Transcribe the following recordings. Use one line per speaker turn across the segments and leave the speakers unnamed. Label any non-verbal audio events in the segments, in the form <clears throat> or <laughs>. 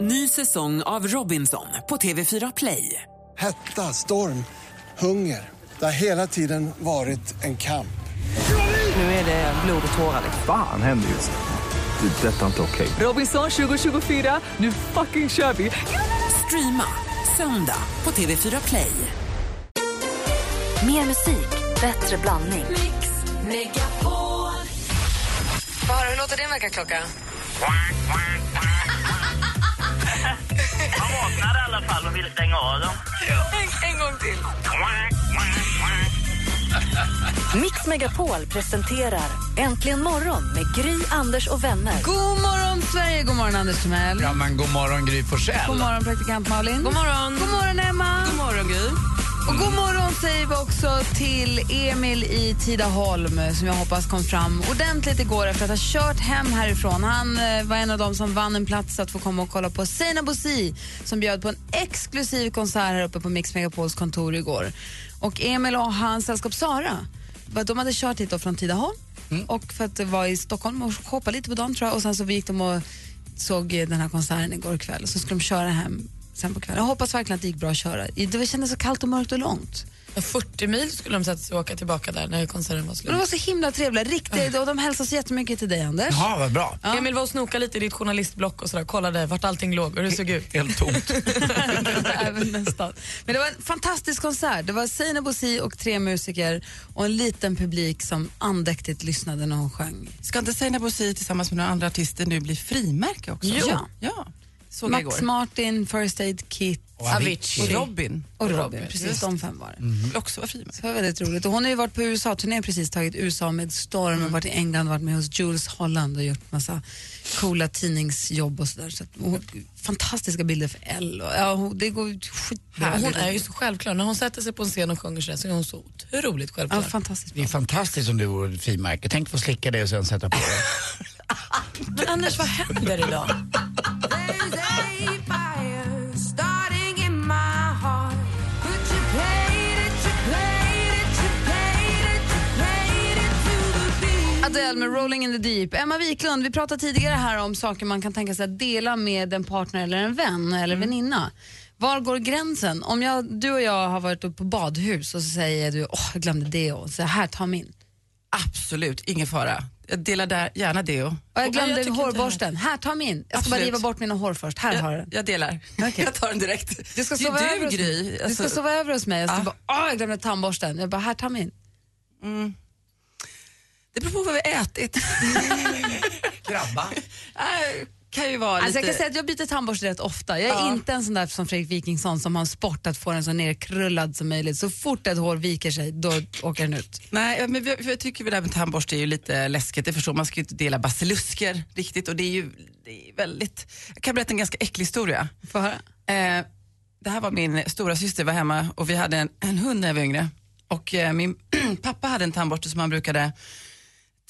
Ny säsong av Robinson på TV4 Play.
Hetta, storm, hunger. Det har hela tiden varit en kamp.
Nu är det blod och tårar. liksom.
Fan händer just nu. Det. är Detta är inte okej.
Robinson 2024, nu fucking kör vi! Streama söndag på TV4 Play.
Mer musik, bättre blandning.
Bara, hur låter din väckarklocka?
Han vaknade i alla fall och ville stänga av dem.
En, en gång till.
Mix Megapol presenterar Äntligen morgon med Gry, Anders och vänner.
God morgon, Sverige! God morgon, Anders Timell.
Ja, men god morgon Gry Forssell.
God morgon, praktikant Malin. God morgon. God morgon, Emma. God morgon, Gry. Och god morgon säger vi också till Emil i Tidaholm som jag hoppas kom fram ordentligt igår efter att ha kört hem härifrån. Han eh, var en av dem som vann en plats att få komma och kolla på Sina Bosi som bjöd på en exklusiv konsert här uppe på Mix Megapols kontor igår. Och Emil och hans sällskap Sara, vad de hade kört hit då från Tidaholm och för att det var i Stockholm och shoppa lite på dagen tror jag och sen så gick de och såg eh, den här konserten igår kväll och så skulle de köra hem sen på kvällen. Jag hoppas verkligen att det gick bra att köra. I- Det kändes så kallt och mörkt och långt.
40 mil skulle de sätta sig och åka tillbaka där när konserten var
Men
slut.
de var så himla trevliga, riktigt, och de hälsade så jättemycket till dig Anders.
Ja, vad bra.
Emil var och snokade lite i ditt journalistblock och sådär, kollade vart allting låg och hur det såg ut.
Helt tomt.
<laughs> Även nästan. Men det var en fantastisk konsert. Det var Sina Bosi och tre musiker och en liten publik som andäktigt lyssnade när hon sjöng.
Ska inte Seinabo Si tillsammans med några andra artister nu bli frimärke också?
Jo.
Ja. ja. Såg jag
Max
igår.
Martin, First Aid Kit
Och
Avicii.
Robin
och Robin.
Robin.
Precis de fem var det.
vill också vara frimärke.
Det var väldigt roligt. Och hon har ju varit på USA-turné precis, tagit USA med storm
Mm.
och varit i England varit med hos Jules Holland och gjort massa coola tidningsjobb och sådär. Så att, hon, fantastiska bilder för Elle. Och, ja, hon, det går skitbra.
Hon är ju så självklar. När hon sätter sig på en scen och sjunger sådär så är hon så otroligt
ja,
självklar.
fantastiskt
Det
bra.
är fantastiskt om du vore ett frimärke. Tänk få slicka det och sen sätta på det.
Men Anders, vad händer idag?
Adele med Rolling in the Deep. Emma Wiklund, vi pratade tidigare här om saker man kan tänka sig att dela med en partner eller en vän eller
Mm.
väninna. Var går gränsen? Om jag, du och jag har varit uppe på badhus och så säger du åh, jag glömde det och så här, ta min.
Absolut, ingen fara. Jag delar där, gärna deo.
Och jag
Och vad- jag
glömde
tycker inte
hårborsten. Här, ta min. Jag ska bara
Absolut.
riva bort mina hår först. Här har du den.
Jag delar. Jag tar den direkt.
Du ska
Det är
sova, över,
du,
hos,
Gry.
du ska
Alltså,
sova över hos mig. Jag, ska
Ah.
bara, Åh, jag glömde tandborsten. Jag bara, här, ta min.
Det beror på vad vi har ätit.
Grabba.
Äh, kan ju vara
Alltså jag
lite...
kan säga att jag byter tandborste rätt ofta. Jag är
Ja.
inte en sån där som Fredrik Wikingsson som har en sport att få den så nerkrullad som möjligt. Så fort ett hår viker sig, då åker den ut.
Nej, men vi- för jag tycker väl det här med tandborste är ju lite läskigt. Det förstår man, man ska ju inte dela basilusker riktigt och det är ju det är väldigt... Jag kan berätta en ganska äcklig historia.
Få höra.
Eh, det här var min stora syster var hemma och vi hade en, en hund när jag var yngre. Och eh, min <clears throat> pappa hade en tandborste som han brukade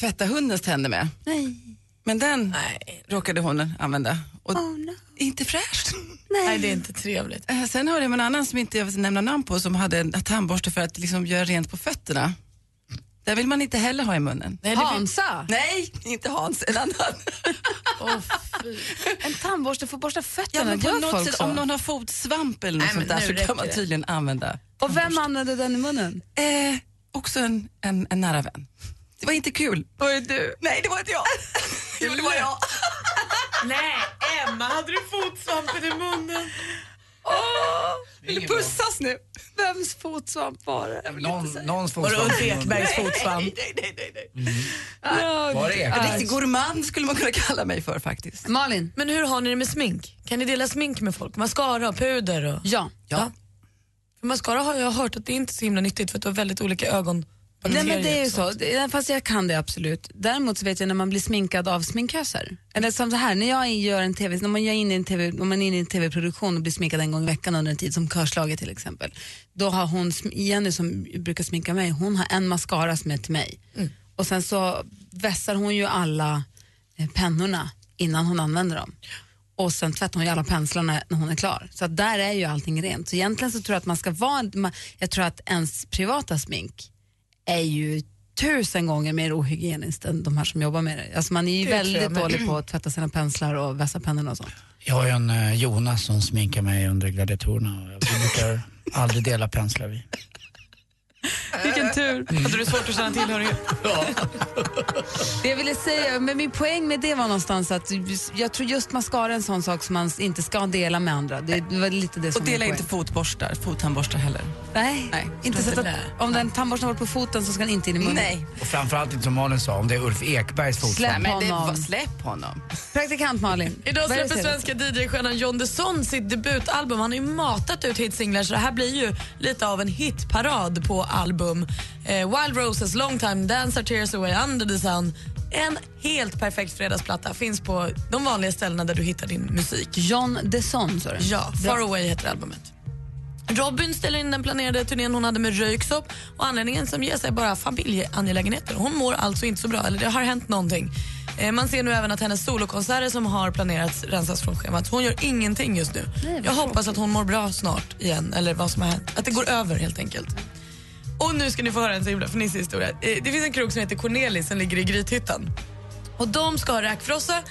tvätta hundens tänder med.
Nej.
Men den råkade hon använda. Och
Oh,
Inte fräscht.
Nej, det är inte trevligt.
Eh, Sen hörde jag om en annan som inte jag vill nämna namn på som hade en tandborste för att liksom göra rent på fötterna. Där vill man inte heller ha i munnen.
Nej, det vill...
Hansa!
Nej, inte Hans, en annan.
Åh, fy.
En tandborste får borsta
Ja,
fötterna.
men på
Gör
något
folk
sätt,
så?
om någon har fotsvamp eller något
Nej, men
sånt där
nu
så
räcker
kan man
det.
tydligen använda
Och vem använder den i munnen?
Eh, också en, en, en nära vän. Det var inte kul. Var det du? Nej, det var inte jag. <laughs> jo, det var <laughs> jag.
Nej, Emma, hade du fotsvampen i munnen?
Vill du pussas nu?
Vems fotsvamp var det?
Någon, någons fotsvamp.
Ulf Ekbergs fotsvamp?
Nej, nej, nej. nej.
Var det Ekberg?
Riktig gourmand skulle man kunna kalla mig för faktiskt.
Malin?
Men hur har ni det med smink? Kan ni dela smink med folk? Mascara och puder? Och...
Ja.
Ja. För mascara har jag hört att det inte är så himla nyttigt för att du har väldigt olika ögon.
Nej men det är ju så, Det- fast jag kan det absolut. Däremot så vet jag när man blir sminkad av sminköser. Eller som så här, när jag gör en TV, när man gör in i en TV, om man är inne i en TV-produktion och blir sminkad en gång i veckan under en tid, som Körslaget till exempel. Då har hon, sm- Jenny som brukar sminka mig, hon har en mascara som är till mig. Och sen så vässar hon ju alla eh, pennorna innan hon använder dem. Och sen tvättar hon ju alla penslarna när hon är klar. Så att där är ju allting rent. Så egentligen så tror jag att man ska vara, man- jag tror att ens privata smink är ju tusen gånger mer ohygieniskt än de här som jobbar med det. Alltså man är ju
Det tror jag
väldigt
med.
dålig på att tvätta sina penslar och vässa pennorna och sånt.
Jag har ju en eh, Jonas som sminkar mig under gladiatorerna. och Vi brukar aldrig dela penslar vi.
Vilken tur. Hade du svårt att känna tillhörighet?
Det jag ville säga, men min poäng med det var någonstans att jag tror just mascara är en sån sak som man inte ska dela med andra. Det var lite det som
Och
var
dela
min
inte
poäng.
fotborstar, fottandborstar heller.
Nej,
Nej,
inte
strunt
så
i
att,
det.
om den tandborsten var på foten så ska den inte in i munnen.
Och framförallt inte som Malin sa, om det är Ulf Ekbergs
Släpp
fotboll.
Men det,
honom.
vad- släpp honom.
Praktikant Malin.
<laughs> Idag
vad är det
släpper
senaste?
svenska DJ-stjärnan John Desson sitt debutalbum. Han har ju matat ut hitsinglar så det här blir ju lite av en hitparad på album. Eh, Wild Roses, Long Time, Dancer, Tears Away, Under the Sun. En helt perfekt fredagsplatta. Finns på de vanliga ställena där du hittar din musik.
John Desson, sa du?
Ja, Far Away heter albumet. Robin ställer in den planerade turnén hon hade med Röyksopp och anledningen som ges är bara familjeangelägenheter. Hon mår alltså inte så bra, eller det har hänt någonting. Eh, Man ser nu även att hennes solokonserter som har planerats rensas från schemat. Hon gör ingenting just nu. Jag hoppas att hon mår bra snart igen, eller vad som har hänt. Att det går över helt enkelt. Och nu ska ni få höra en så himla fnissig historia. Eh, Det finns en krog som heter Cornelis som ligger i Grythyttan. Och de ska ha räkfrossa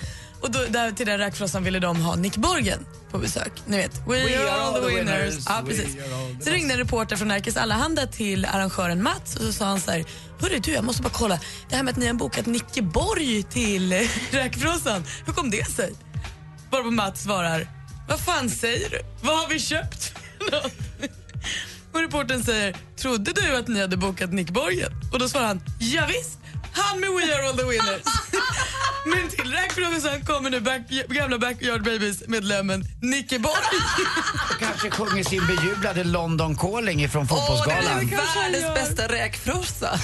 och då, där, till den räkfrossan ville de ha Nick Borgen på besök. Ni vet, we, are all the winners. Ja, precis. Så ringde en reporter från Närkes Allehanda till arrangören Mats och så sa han så här, Hörru du, jag måste bara kolla, det här med att ni har bokat Nicke Borg till <laughs> eh, räkfrossan, hur kom det sig? Bara på Mats svarar, vad fan säger du? Vad har vi köpt för något?" Och reportern säger, trodde du att ni hade bokat Nick Borgen? Och då svarar han, ja visst, han med We are all the winners. <laughs> Men till räkfrossan kommer nu back, gamla Backyard Babies-medlemmen Nicke Borg.
Kanske sjunger sin bejublade London Calling ifrån
Åh, det är
fotbollsgalan.
världens bästa
<laughs>
räkfrossa.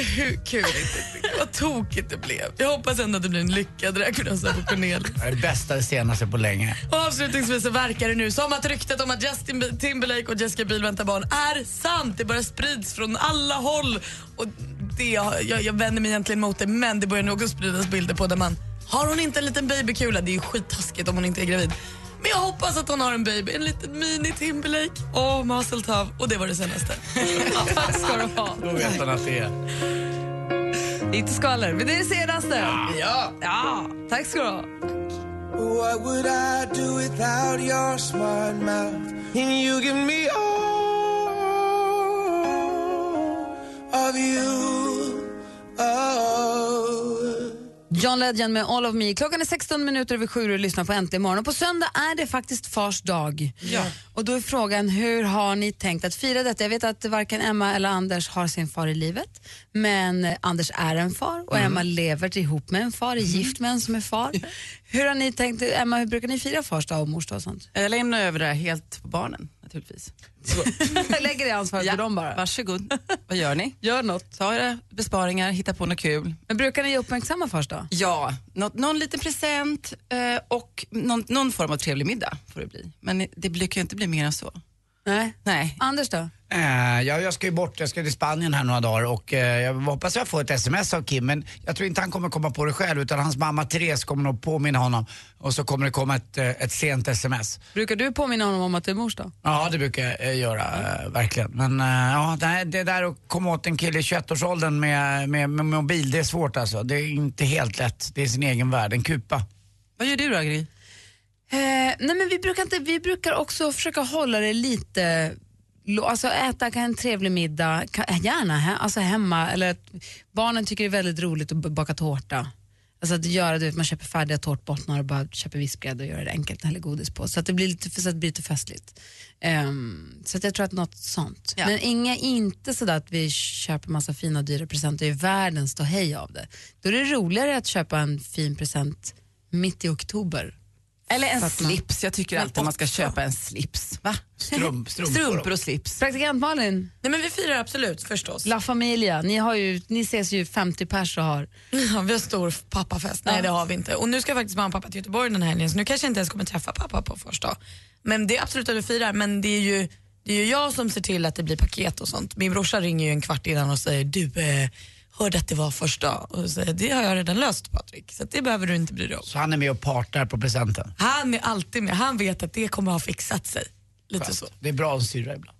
Hur kul det blev. Vad tokigt det blev. Jag hoppas ändå att det blir en lyckad räkfrossa på Cornelis.
Det är det bästa det senaste på länge.
Och avslutningsvis så verkar det nu som att ryktet om att Justin Bi- Timberlake och Jessica Biel väntar barn är sant. Det bara sprids från alla håll. Och det, jag, jag- jag vänder mig egentligen mot det, men det börjar nog att spridas bilder på där man... Har hon inte en liten babykula? Det är ju skittaskigt om hon inte är gravid. Men jag hoppas att hon har en baby, en liten mini Timberlake. Åh, muscle tough. Och det var det senaste.
Tack ska du ha.
Då vet han att det är.
Inte skvaller, men det är det senaste. Ja. ja. Tack ska du ha.
What would I do without your smart mouth? And you give me all of you. Oh.
John Legend med All of Me. Klockan är 16 minuter över sju och du lyssnar på Äntligen morgon. Och på söndag är det faktiskt fars dag. Ja. Och då är frågan, hur har ni tänkt att fira detta? Jag vet att varken Emma eller Anders har sin far i livet, men eh, Anders är en far och
Mm.
Emma lever ihop med en far, är gift med en som
<laughs>
är far. Hur har ni tänkt, Emma, hur brukar ni fira fars dag och mors dag och sånt?
<laughs> Jag lämnar över det här helt på barnen naturligtvis.
Jag lägger det ansvaret på dem bara.
Varsågod. Vad gör ni?
Gör något.
Ta era besparingar, hitta på något kul.
Men brukar ni uppmärksamma fars dag?
Ja, något, någon liten present eh, och någon, någon form av trevlig middag får det bli. Men det blir, kan ju inte bli mer än så.
Nej.
Nej.
Anders då?
Eh, ja, jag ska ju bort, jag ska till Spanien här några dagar och eh, jag hoppas jag får ett sms av Kim men jag tror inte han kommer komma på det själv utan hans mamma Therese kommer nog påminna honom och så kommer det komma ett, eh, ett sent sms.
Brukar du påminna honom om att det är mors dag?
Ja, det brukar jag eh, göra, eh, verkligen. Men eh, ja, det, det där att komma åt en kille i 21-årsåldern med, med, med mobil, det är svårt alltså. Det är inte helt lätt. Det är sin egen värld, en kupa.
Vad gör du då Gry?
Eh, nej men vi brukar, inte, vi brukar också försöka hålla det lite, lo- alltså äta kan en trevlig middag, kan, eh, gärna he, alltså hemma, eller att barnen tycker det är väldigt roligt att b- baka tårta. Alltså att göra det, man köper färdiga tårtbottnar och bara köper vispgrädde och gör det enkelt, häller godis på. Så att det blir lite, så att det blir lite festligt. Ehm, så att jag tror att något sånt. Men inga, inte sådär att vi köper massa fina dyra presenter i världen står hej av det. Då är det roligare att köpa en fin present mitt i oktober
Eller en
Fattar.
slips. Jag tycker alltid man ska köpa en slips. Va? <laughs>
Strump, strumpor.
Strumpor och slips.
Praktikant Malin,
Nej, men vi firar absolut, förstås.
La Familia, ni, har ju, ni ses ju 50 pers och har...
Ja, vi har stor pappafest. Nej, det har vi inte. Och nu ska faktiskt mamma och pappa till Göteborg den här helgen så nu kanske jag inte ens kommer träffa pappa på första. Men det är absolut att vi firar, men det är ju det är ju jag som ser till att det blir paket och sånt. Min brorsa ringer ju en kvart innan och säger du eh, hörde att det var första och då säger jag, det har jag redan löst Patrik så att det behöver du inte bry dig om.
Så han är med och partar på presenten.
Han är alltid med, han vet att det kommer ha fixat sig. Lite så.
Det är bra att styra ibland.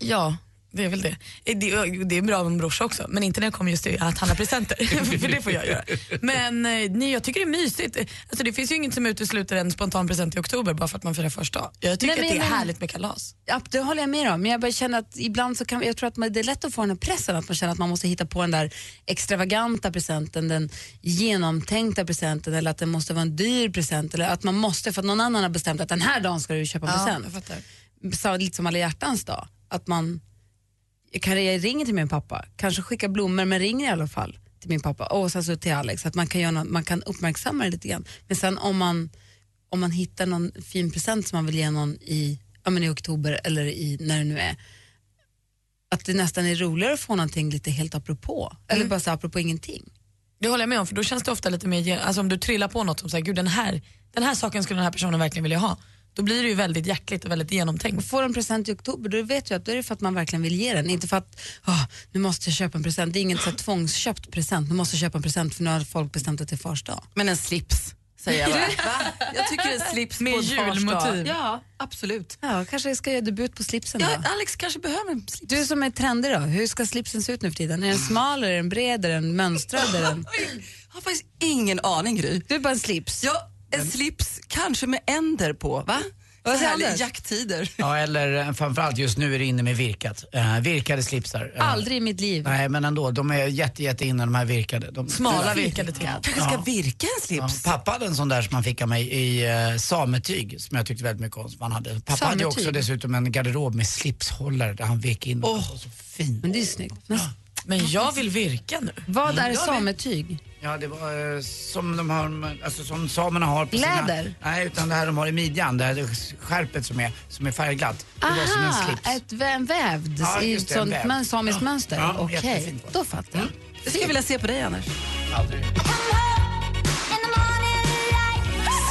Ja, Det är väl det. Eh, Det, det är bra med en brorsa också, men inte när det kommer just till att handla presenter. för det får jag göra. Men eh, nej, jag tycker det är mysigt. Alltså, det finns ju inget som utesluter en spontan present i oktober bara för att man firar första dag. Jag
Nej,
tycker
men
att det är
jag menar-
härligt med kalas.
Ja, det håller jag med om. Men jag bara känner att ibland så kan jag tror att man, det är lätt att få den här pressen att man känner att man måste hitta på den där extravaganta presenten, den genomtänkta presenten eller att det måste vara en dyr present eller att man måste för att någon annan har bestämt att den här dagen ska du köpa en
jag
present.
fattar.
Så, lite som alla hjärtans dag. Att man, kan jag ringer till min pappa, kanske skicka blommor men ringer i alla fall till min pappa och sen så till Alex. Att man kan, göra något, man kan uppmärksamma det lite grann. Men sen om man, om man hittar någon fin present som man vill ge någon i, ja, men i oktober eller i, när det nu är, att det nästan är roligare att få någonting lite helt apropå. Eller bara så här, apropå ingenting.
Det håller jag med om, för då känns det ofta lite mer, gen- alltså om du trillar på något som säger gud den här, den här saken skulle den här personen verkligen vilja ha. Då blir det ju väldigt hjärtligt och väldigt genomtänkt.
Får en present i oktober, då vet jag att då är det för att man verkligen vill ge den. Inte för att "Ah, nu måste jag köpa en present. Det är ingen så här, tvångsköpt present. Nu måste jag köpa en present för nu har folk bestämt att det är fars dag.
Men en slips,
<laughs>
säger jag bara. Va? Jag tycker en slips
Med
på en fars
julmotiv.
dag. Ja, absolut.
Ja, kanske jag ska göra debut på slipsen då.
Ja, Alex kanske behöver en slips.
Du som är trendig då, hur ska slipsen se ut nu för tiden? Är den smal, är den bred, är den mönstrad? Är <laughs> den...
Jag har faktiskt ingen aning, Gry.
Du är bara en slips.
Ja, en slips, kanske med änder på, va?
Vad
Så
säger
här i
Anders?
jakttider.
Ja, eller eh, framförallt just nu är det inne med virkat. Eh, virkade slipsar. Eh,
Aldrig i mitt liv.
Nej, men ändå. De är jätte, jätte inne de här virkade. De,
Smala virkade till.
Kanske ska virka en
Ja,
slips.
pappa hade en sån där som han fick av mig i eh, sametyg som jag tyckte väldigt mycket om. Som han hade. Pappa hade ju också
Sametyg?
dessutom en garderob med slipshållare där han vek in dem. Oh. Så fint.
Men det är ju snyggt. Men
Men jag vill virka nu.
vad är sametyg?
Ja, det var eh, som, de har, alltså, som samerna har på sina...
Läder?
Nej, utan det här de har i midjan, det här skärpet som är, som är färgglatt. Det var som en
Aha,
slips.
ett, vä- en vävd
Ja,
i
just
ett
det, en
sånt
vävd.
mön- samiskt
Ja.
mönster?
Ja,
Okej,
jättefint var det.
då fattar jag.
Det skulle jag vilja se på dig, Anders.
Aldrig.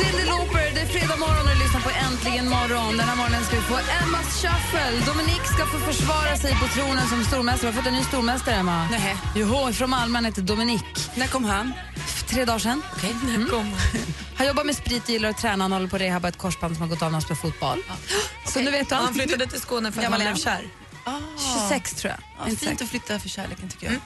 Cyndi Lauper, det är fredag morgon och du lyssnar på Äntligen morgon. Den här morgonen ska vi få Emmas shuffle. Dominik ska få försvara sig på tronen som stormästare. Har du fått en ny stormästare, Emma?
Nähä.
Joho, från Malmö, han heter Dominik.
När kom han?
F- Tre dagar sedan. Mm.
Okej, när kom
Han jobbar med sprit, gillar att träna, han håller på att rehabba ett korsband som har gått av när han spelar fotboll. Så nu vet du
Han
allt.
flyttade till Skåne för att
Gammal
han blev
en.
kär.
Ah. 26 tror jag.
Ja,
Inte
fint
säker.
att flytta för kärleken, tycker
Mm.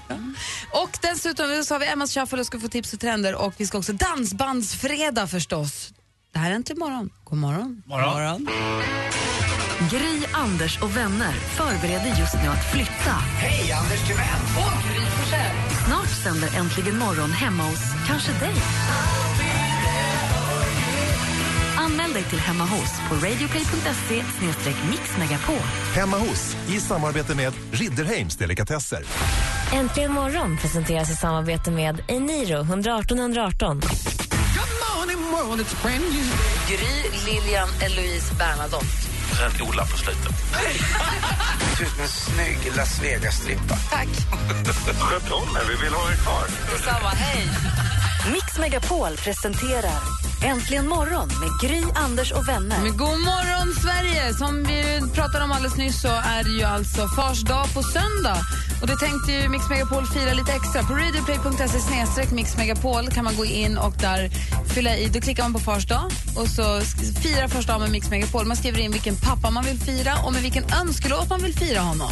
jag.
Och dessutom så har vi Emmas shuffle och ska få tips och trender och vi ska också dansbandsfredag förstås. Det här är inte imorgon. God morgon.
Morgon.
Gry, Anders och vänner förbereder just nu att flytta.
Hej, Anders Timell!
Snart sänder Äntligen morgon hemma hos kanske dig. Anmäl dig till Hemma hos på radioplay.se mixmegapol.
Hemma hos, i samarbete med Ridderheims Delikatesser.
Äntligen morgon presenteras i samarbete med Eniro 118 118.
Gry, Lilian, Eloise, Bernadotte.
Sen Ola på slutet.
Ser ut som en snygg Las Vegas-strippa.
Tack.
Sköt om er, vi vill ha er kvar.
Detsamma. Hej.
Mix Megapol presenterar Äntligen morgon med Gry, Anders och vänner.
Men god morgon, Sverige! Som vi pratade om alldeles nyss så är det ju alltså fars dag på söndag. Och det tänkte ju Mix Megapol fira lite extra. På radioplay.se snedstreck Mix Megapol kan man gå in och där fylla i. Då klickar man på fars dag och så sk- fira fars dag med Mix Megapol. Man skriver in vilken pappa man vill fira och med vilken önskelåt man vill fira honom.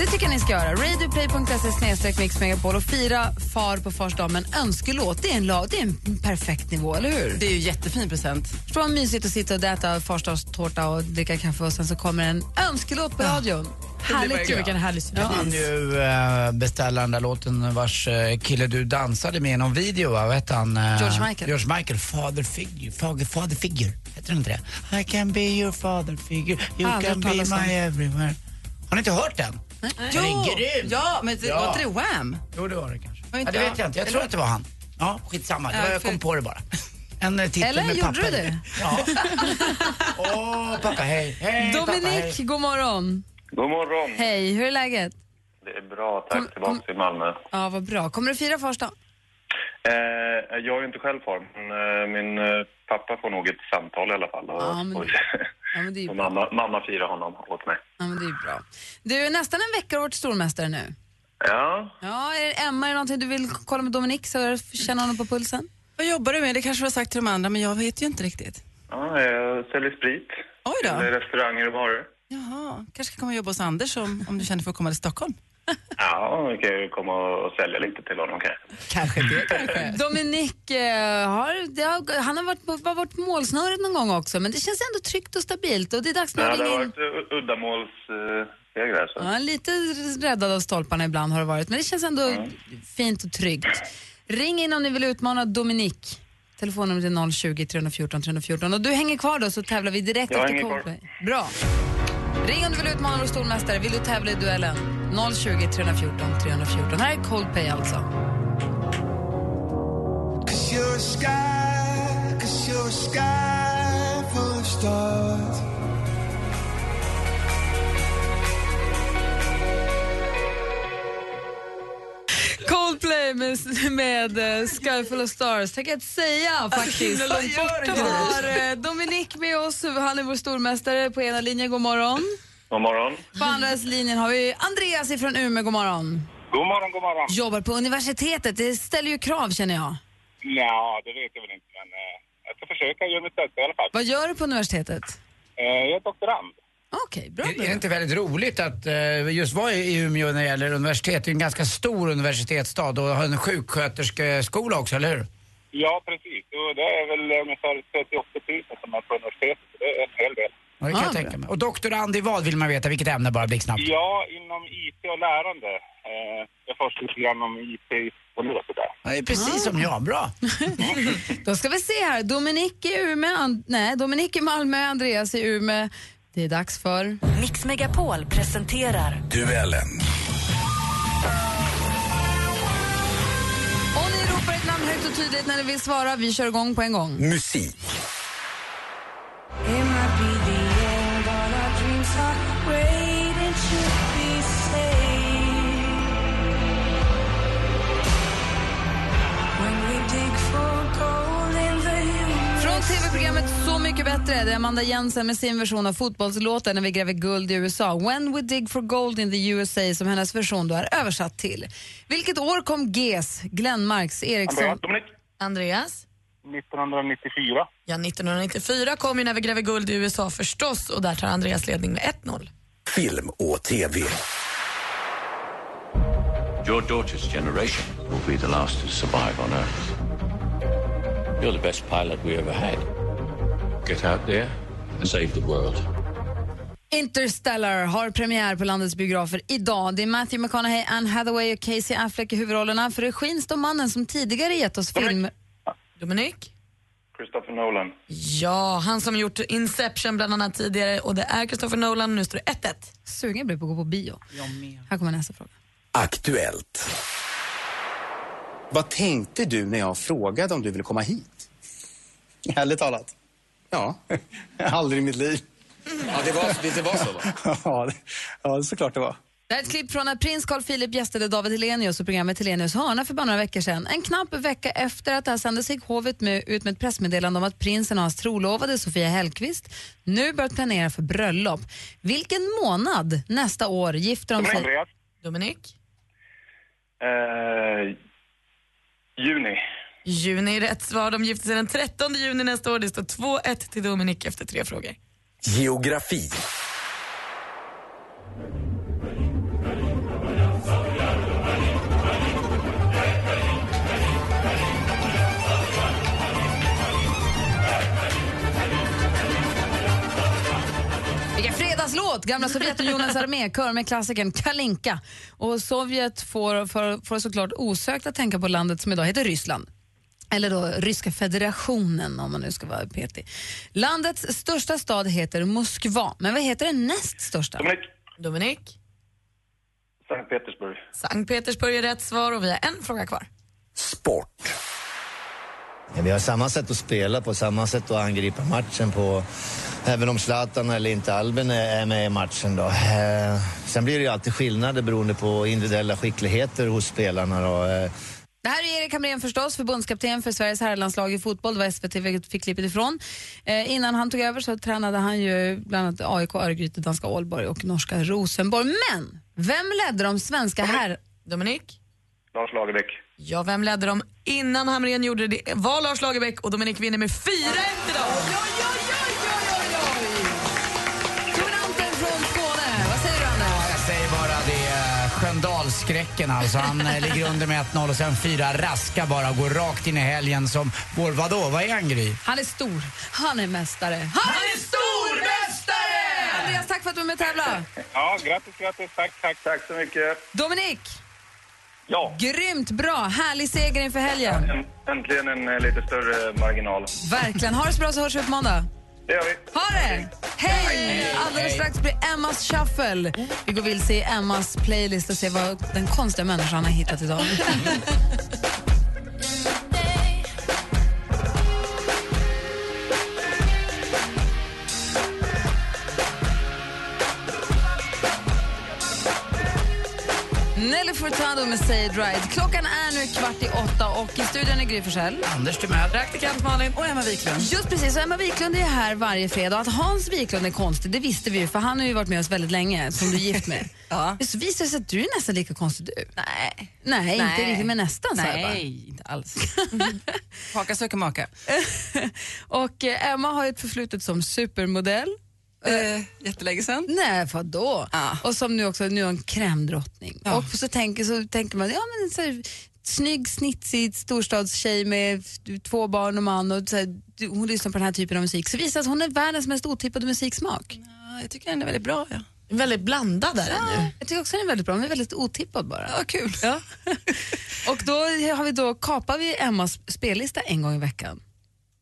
Det tycker jag ni ska göra. Radioplay.se snedstreck Mix Megapol och fira far på fars dag med en önskelåt. Det är en, la- det är en perfekt nivå, eller hur?
Det är ju jättefin present.
Förstå vad mysigt att sitta och äta farsdagstårta och dricka kaffe och sen så kommer en önskelåt på radion. Härligt
Gud, vilken härlig syn.
Ja.
kan ju eh, beställa den där låten vars eh, kille du dansade med i någon video, va? vad hette han? eh,
George Michael.
George Michael, father figure, father, father figure, heter den inte det? I can be your father figure, you
Aldrig
can
hört
be
talas om.
my everywhere. Har ni inte hört den? Den är grym!
Ja, men det,
Ja.
var inte det Wham?
Jo, det var det kanske.
Var
Ja,
inte
det vet
jag.
jag inte, jag tror att det var han. Ja, skitsamma, det var,
Ja,
jag
för-
kom på det bara. <laughs> En eh, titel
Eller
med
gjorde du
pappa.
det? <laughs>
Ja. Åh, pappa hej. hej pappa, hej.
Dominik, god morgon.
God morgon.
Hej, hur är läget?
Det är bra,
Kom-
tack. Tillbaka
kom-
till Malmö.
Ja, vad bra. Kommer du fira fars dag?
Eh, jag är ju inte själv far, men eh, min eh, pappa får nog ett samtal i alla fall. Och,
Ja, men-
och,
Ja, men det är ju
och
bra.
mamma, mamma firar honom åt mig.
Ja, men det är ju bra. Du är nästan en vecka vårt stormästare nu.
Ja,
Ja, är det, Emma, är det någonting du vill kolla med Dominik så jag känner honom på pulsen?
Vad jobbar du med? Det kanske du har sagt till de andra, men jag vet ju inte riktigt.
ja jag säljer sprit.
Oj då.
Till restauranger och barer.
Jaha, kanske kan komma och jobba hos Anders om, om du känner för att komma till Stockholm.
Ja, vi kan ju komma och sälja lite till honom kanske.
Kanske det kanske.
Dominik, eh, har, det har, han har varit, på- var varit målsnöret någon gång också, men det känns ändå tryggt och stabilt. Och det är dags nu
Ja,
att
det har
ringa in.
varit u- uddamålsseger här så.
Ja, lite räddad av stolparna ibland har det varit, men det känns ändå fint och tryggt. Ring in om ni vill utmana Dominik. Telefonnumret är 020 314 314. Och du hänger kvar då så tävlar vi direkt
Jag
efter
hänger kvar.
Coldplay. Bra. Ring om du vill utmana vår stormästare. Vill du tävla i duellen? 020 314 314. Här är Coldplay alltså.
Cause you're a sky, cause you're a sky full of stars.
Coldplay med, med eh, Sky Full of Stars. Tänk att säga faktiskt.
himla långt bort
Vi
det var.
har eh, Dominik med oss. Han är vår stormästare på ena linjen. God morgon.
God morgon.
På andra linjen har vi Andreas från Umeå. God morgon.
God morgon, god morgon.
Jobbar på universitetet. Det ställer ju krav känner jag.
Ja, det vet jag väl inte, men eh, jag ska försöka göra mitt bästa i alla fall.
Vad gör du på universitetet?
Eh, jag är doktorand.
Okej, bra.
Är det inte väldigt roligt att eh, just vara i Umeå när det gäller universitet? Det är en ganska stor universitetsstad och har en sjuksköterskeskola också, eller hur?
Ja, precis. Och det är väl ungefär 38 000 som är på universitetet, så det är en hel del.
Ja, det kan jag tänka mig. Och doktorand i vad vill man veta? Vilket ämne bara blixtsnabbt?
Ja, inom IT och lärande. Eh, jag forskar lite grann om IT och låter där.
Ja, det är precis som jag, bra.
Då ska vi se här. Dominik i Umeå, And- nej, Dominik i Malmö, Andreas i Umeå. Det är dags för...
Mix Megapol presenterar
Duellen.
Om ni ropar ett namn högt och tydligt när ni vill svara, vi kör igång på en gång.
Musik.
Från tv-programmet Så mycket bättre, det är Amanda Jensen med sin version av fotbollslåten när vi gräver guld i USA. When we dig for gold in the USA som hennes version då är översatt till. Vilket år kom GES, Glenmarks, Eriksson...
Andreas, Dominik.
Andreas?
1994.
Ja, 1994 kom ju När vi gräver guld i USA förstås och där tar Andreas ledning med 1-0.
Film och TV.
Your daughter's generation will be the last to survive on Earth. You're the best pilot we ever had. Get out there and save the world.
Interstellar har premiär på landets biografer idag. Det är Matthew McConaughey, Anne Hathaway och Casey Affleck i huvudrollerna. För regin står mannen som tidigare gett oss film...
Dominik?
Christopher Nolan.
Ja, han som gjort Inception bland annat tidigare och det är Christopher Nolan och nu står det 1-1.
Sugen blir på att gå på bio. Här kommer nästa fråga.
Aktuellt. Vad tänkte du när jag frågade om du ville komma hit? Ärligt talat? Ja, aldrig i mitt liv. Ja, det var, det var så va? ja, det, ja, såklart det var.
Det här är ett klipp från när prins Carl Philip gästade David Hellenius och programmet Hellenius hörna för bara några veckor sedan. En knapp vecka efter att det här sändes gick hovet med, ut med ett pressmeddelande om att prinsen och hans trolovade Sofia Hellqvist nu börjat planera för bröllop. Vilken månad nästa år gifter de sig?
Andreas.
Dominik?
Eh, juni.
Juni är rätt svar. De gifter sig den 13 juni nästa år. Det står 2-1 till Dominik efter tre frågor.
Geografi.
Vilken fredagslåt! Gamla Sovjetunionens armékör med klassikern Kalinka. Och Sovjet får, får, får såklart osökt att tänka på landet som idag heter Ryssland. Eller då Ryska federationen om man nu ska vara petig. Landets största stad heter Moskva, men vad heter den näst största?
Dominik.
Dominik?
Sankt Petersburg.
Sankt Petersburg är rätt svar och vi har en fråga kvar.
Ja, Vi har samma sätt att spela på, samma sätt att angripa matchen på. Även om Zlatan eller inte Albin är är med i matchen då. Eh, Sen blir det ju alltid skillnader beroende på individuella skickligheter hos spelarna då. Eh,
Det här är Erik Hamrén förstås, förbundskapten för Sveriges herrlandslag i fotboll. Det var SVT vi fick klippet ifrån. Eh, innan han tog över så tränade han ju bland annat AIK, Örgryte, danska Aalborg och norska Rosenborg. Men vem ledde de svenska herr...
Dominik?
Lars Lagerbäck.
Ja, vem ledde dem innan Hamrén gjorde det? var Lars Lagerbäck och Dominik vinner med 4-1 idag.
Tornanten från
skräcken eh, alltså. Han eh, ligger under med 1-0 och sen fyra raska bara och går rakt in i helgen som vår, vadå, vad är han Gry?
Han är stor. Han är mästare. Han är stormästare! Andreas, tack för att du är med och tävlar.
Ja, grattis, grattis. Tack, tack. Tack så mycket.
Dominik,
Ja,
grymt bra. Härlig seger inför helgen.
en, äntligen en eh, lite större marginal.
Verkligen. Ha det så bra så hörs vi på måndag.
Det gör vi.
Ha det! Hej! Alldeles
Hej.
strax blir Emmas shuffle. Vi går vilse i Emmas playlist och ser vad den konstiga människan har hittat idag. Nelly Furtado med Say It Right. Klockan är nu kvart i åtta och i studion är Gry Forssell.
Anders Timell.
Praktikant Malin. Och Emma Wiklund. Just precis, och Emma Wiklund är här varje fredag. Att Hans Wiklund är konstig, det visste vi ju för han har ju varit med oss väldigt länge, som du är gift med. <laughs> ja. Så visar det sig att du är nästan lika konstig du. Nej. Nej, inte riktigt, men nästan så här bara.
Nej, inte alls. <laughs> Haka söker maka.
<laughs> Och eh, Emma har ju ett förflutet som supermodell.
Eh, jättelänge sedan.
Nej, vadå? Och som nu också nu är hon krämdrottning. Och så tänker, så tänker man, ja men så här, snygg, snitsig storstadstjej med f- två barn och man och så här, du- hon lyssnar på den här typen av musik. Så visar det sig att hon är världens mest otippade musiksmak.
jag tycker den är väldigt bra. Ja.
Väldigt blandad är den ja, Jag tycker också den är väldigt bra, men väldigt otippad bara. Ja, <laughs> kul. och då, har vi då kapar vi Emmas spellista en gång i veckan.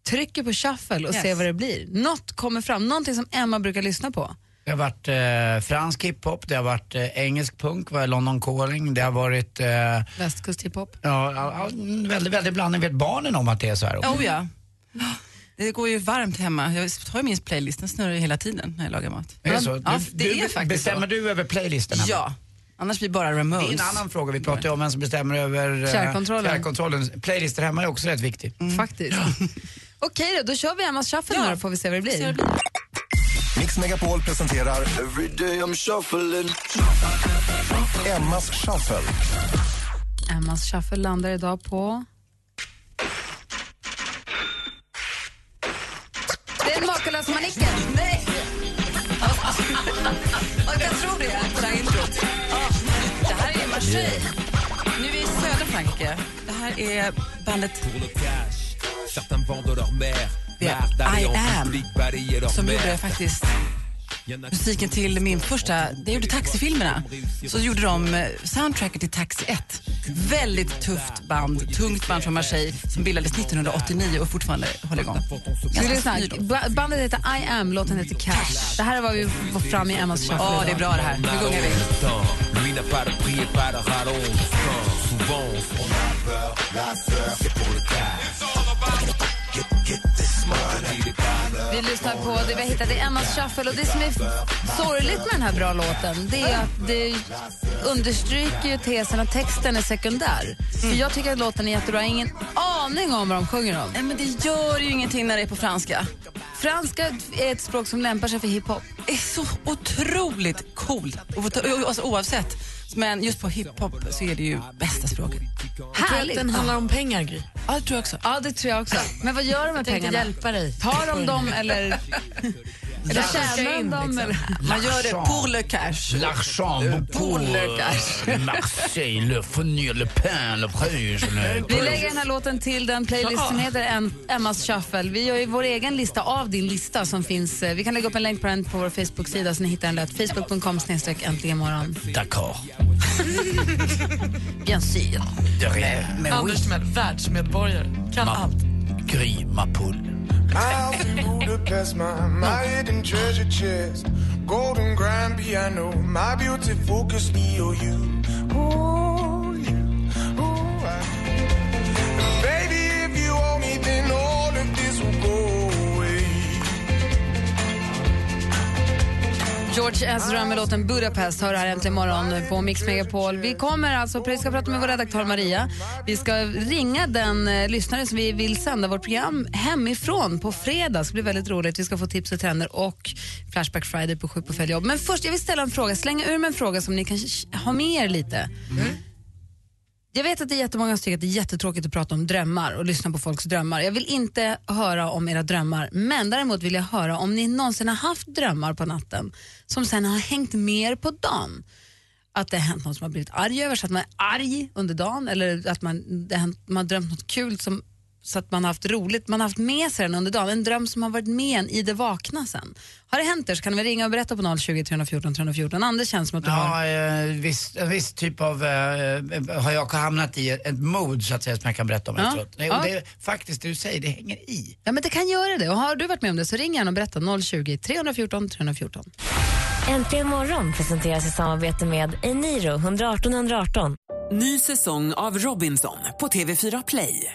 Trycker på shuffle och
Yes.
ser vad det blir. Något kommer fram, någonting som Emma brukar lyssna på.
Det har varit eh, fransk hiphop, det har varit eh, engelsk punk, vad är London calling, det har varit eh,
Västkust hiphop.
ja, all, all, väldigt, väldigt blandning. Vet barnen om att det är så här också?
Oh,
<gasps>
ja. Det går ju varmt hemma. Jag har ju min playlist, den snurrar ju hela tiden när jag lagar mat.
Är det så?
Ja, det
Du- du
är faktiskt
bestämmer
så.
du över playlisten? Emma?
Ja, annars blir bara Ramones.
Det är en annan fråga. Vi pratar ju om vem som bestämmer över eh, Mm.
Fjärrkontrollen.
fjärrkontrollen. Playlister hemma är också rätt viktig.
Faktiskt. Okej då, då kör vi Emmas shuffle nu då får vi se vad det blir.
Mix Megapol presenterar Every day I'm shuffling. Emmas shuffle.
Emmas shuffle landar idag på... Det är en makalös manicken. Nej! jag tror det. Det här introt.
Det här är Marseille. Nu är vi i södra Frankrike. Det här är bandet Det är I Am som gjorde faktiskt musiken till min första, det gjorde taxifilmerna. Så gjorde de eh, soundtracket till Taxi 1. Väldigt tufft band, tungt band från Marseille som bildades 1989 och fortfarande håller igång.
Ska vi lyssna? Ba- Bandet heter I am, låten heter Cash. Det här är vad vi var fram i Emmas shuffle
Ja,
idag.
det är bra det här. Nu gungar vi.
Lui n'a pas de prix et pas de rallonge. Enfin, Souvent, on a peur, la peur, c'est pour le cash. Get, get this money.
Vi lyssnar på det vi har hittat i Emmas shuffle och det som är f- sorgligt med den här bra låten det är att det understryker ju tesen att texten är sekundär.
Mm.
För jag tycker att låten är jättebra, jag har ingen aning om vad de sjunger om.
Nej, men det gör ju ingenting när det är på franska.
Franska är ett språk som lämpar sig för hiphop.
är så otroligt cool, O- alltså, oavsett. Men just på hiphop så är det ju bästa språket.
Härligt. Den handlar om pengar, Gry.
Ja, det tror jag också.
Ja, det tror jag också. Men vad gör de med
Jag tänkte
pengarna?
hjälpa dig.
Tar de dem
<laughs>
eller, eller
Laschar
tjänar de
in,
dem?
liksom.
Eller?
Man gör det pour le cash.
L'argent pour euh,
le cash.
Marseille, le fenir, le pain, le prus.
<laughs>
Vi lägger den här låten till den playlist som
Ja.
heter Em- Emmas shuffle. Vi gör ju vår egen lista av din lista som finns. eh, Vi kan lägga upp en länk på den på vår Facebook-sida så ni hittar den lätt. Facebook.com snedstreck äntligen morgon.
D'accord.
Bien sûr.
De rien.
Men Anders som är världsmedborgare. Kan
Ma-
allt.
Gry Mapoul.
Miles in Budapest, my, my hidden treasure chest. Golden grand piano, my beauty focus, me or you. Ooh, you, ooh, I. Baby, if you owe me, then all of this will go away.
George Ezra med låten Budapest hör här äntligen morgon på Mix Megapol. Vi kommer alltså, vi ska prata med vår redaktör Maria. Vi ska ringa den eh, lyssnare som vi vill sända vårt program hemifrån på fredag. Det blir väldigt roligt. Vi ska få tips och trender och Flashback Friday på sju på fel jobb. Men först, jag vill ställa en fråga. Slänga ur mig en fråga som ni kan sh- ha med er lite. Jag vet att det är jättemånga som tycker att det är jättetråkigt att prata om drömmar och lyssna på folks drömmar. Jag vill inte höra om era drömmar, men däremot vill jag höra om ni någonsin har haft drömmar på natten som sen har hängt med er på dagen. att det har hänt någon som har blivit arg över, så att man är arg under dagen eller att man, det har hänt, man har drömt något kul som, så att man har haft roligt, man har haft med sig den under dagen, en dröm som har varit med en i det vakna sen. Har det hänt det så kan vi ringa och berätta på 020 314 314. Anders känns som att du har...
Ja, eh, viss, en viss typ av eh, har jag hamnat i ett mode så att säga som jag kan berätta om
Ja.
efteråt. Nej,
Ja.
och det, är faktiskt det du säger, det hänger i.
Ja men det kan göra det och har du varit med om det så ring gärna och berätta 020 314 314.
Äntligen morgon presenteras i samarbete med Eniro 118 118.
Ny säsong av Robinson på TV4 Play.